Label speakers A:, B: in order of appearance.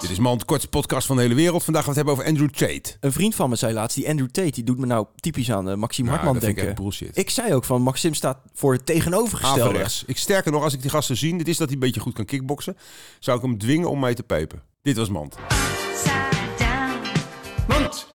A: Dit is Mand, kortste podcast van de hele wereld. Vandaag gaan we het hebben over Andrew Tate.
B: Een vriend van me zei laatst, die Andrew Tate, die doet me nou typisch aan eh, Maxime
A: Ja,
B: Hartman
A: dat vind ik
B: denken.
A: echt bullshit.
B: Ik zei ook van, Maxime staat voor het tegenovergestelde.
A: Averechts. Ik sterker nog, als ik die gasten zie, dit is dat hij een beetje goed kan kickboksen, zou ik hem dwingen om mij te pijpen. Dit was Mand.
C: upside down.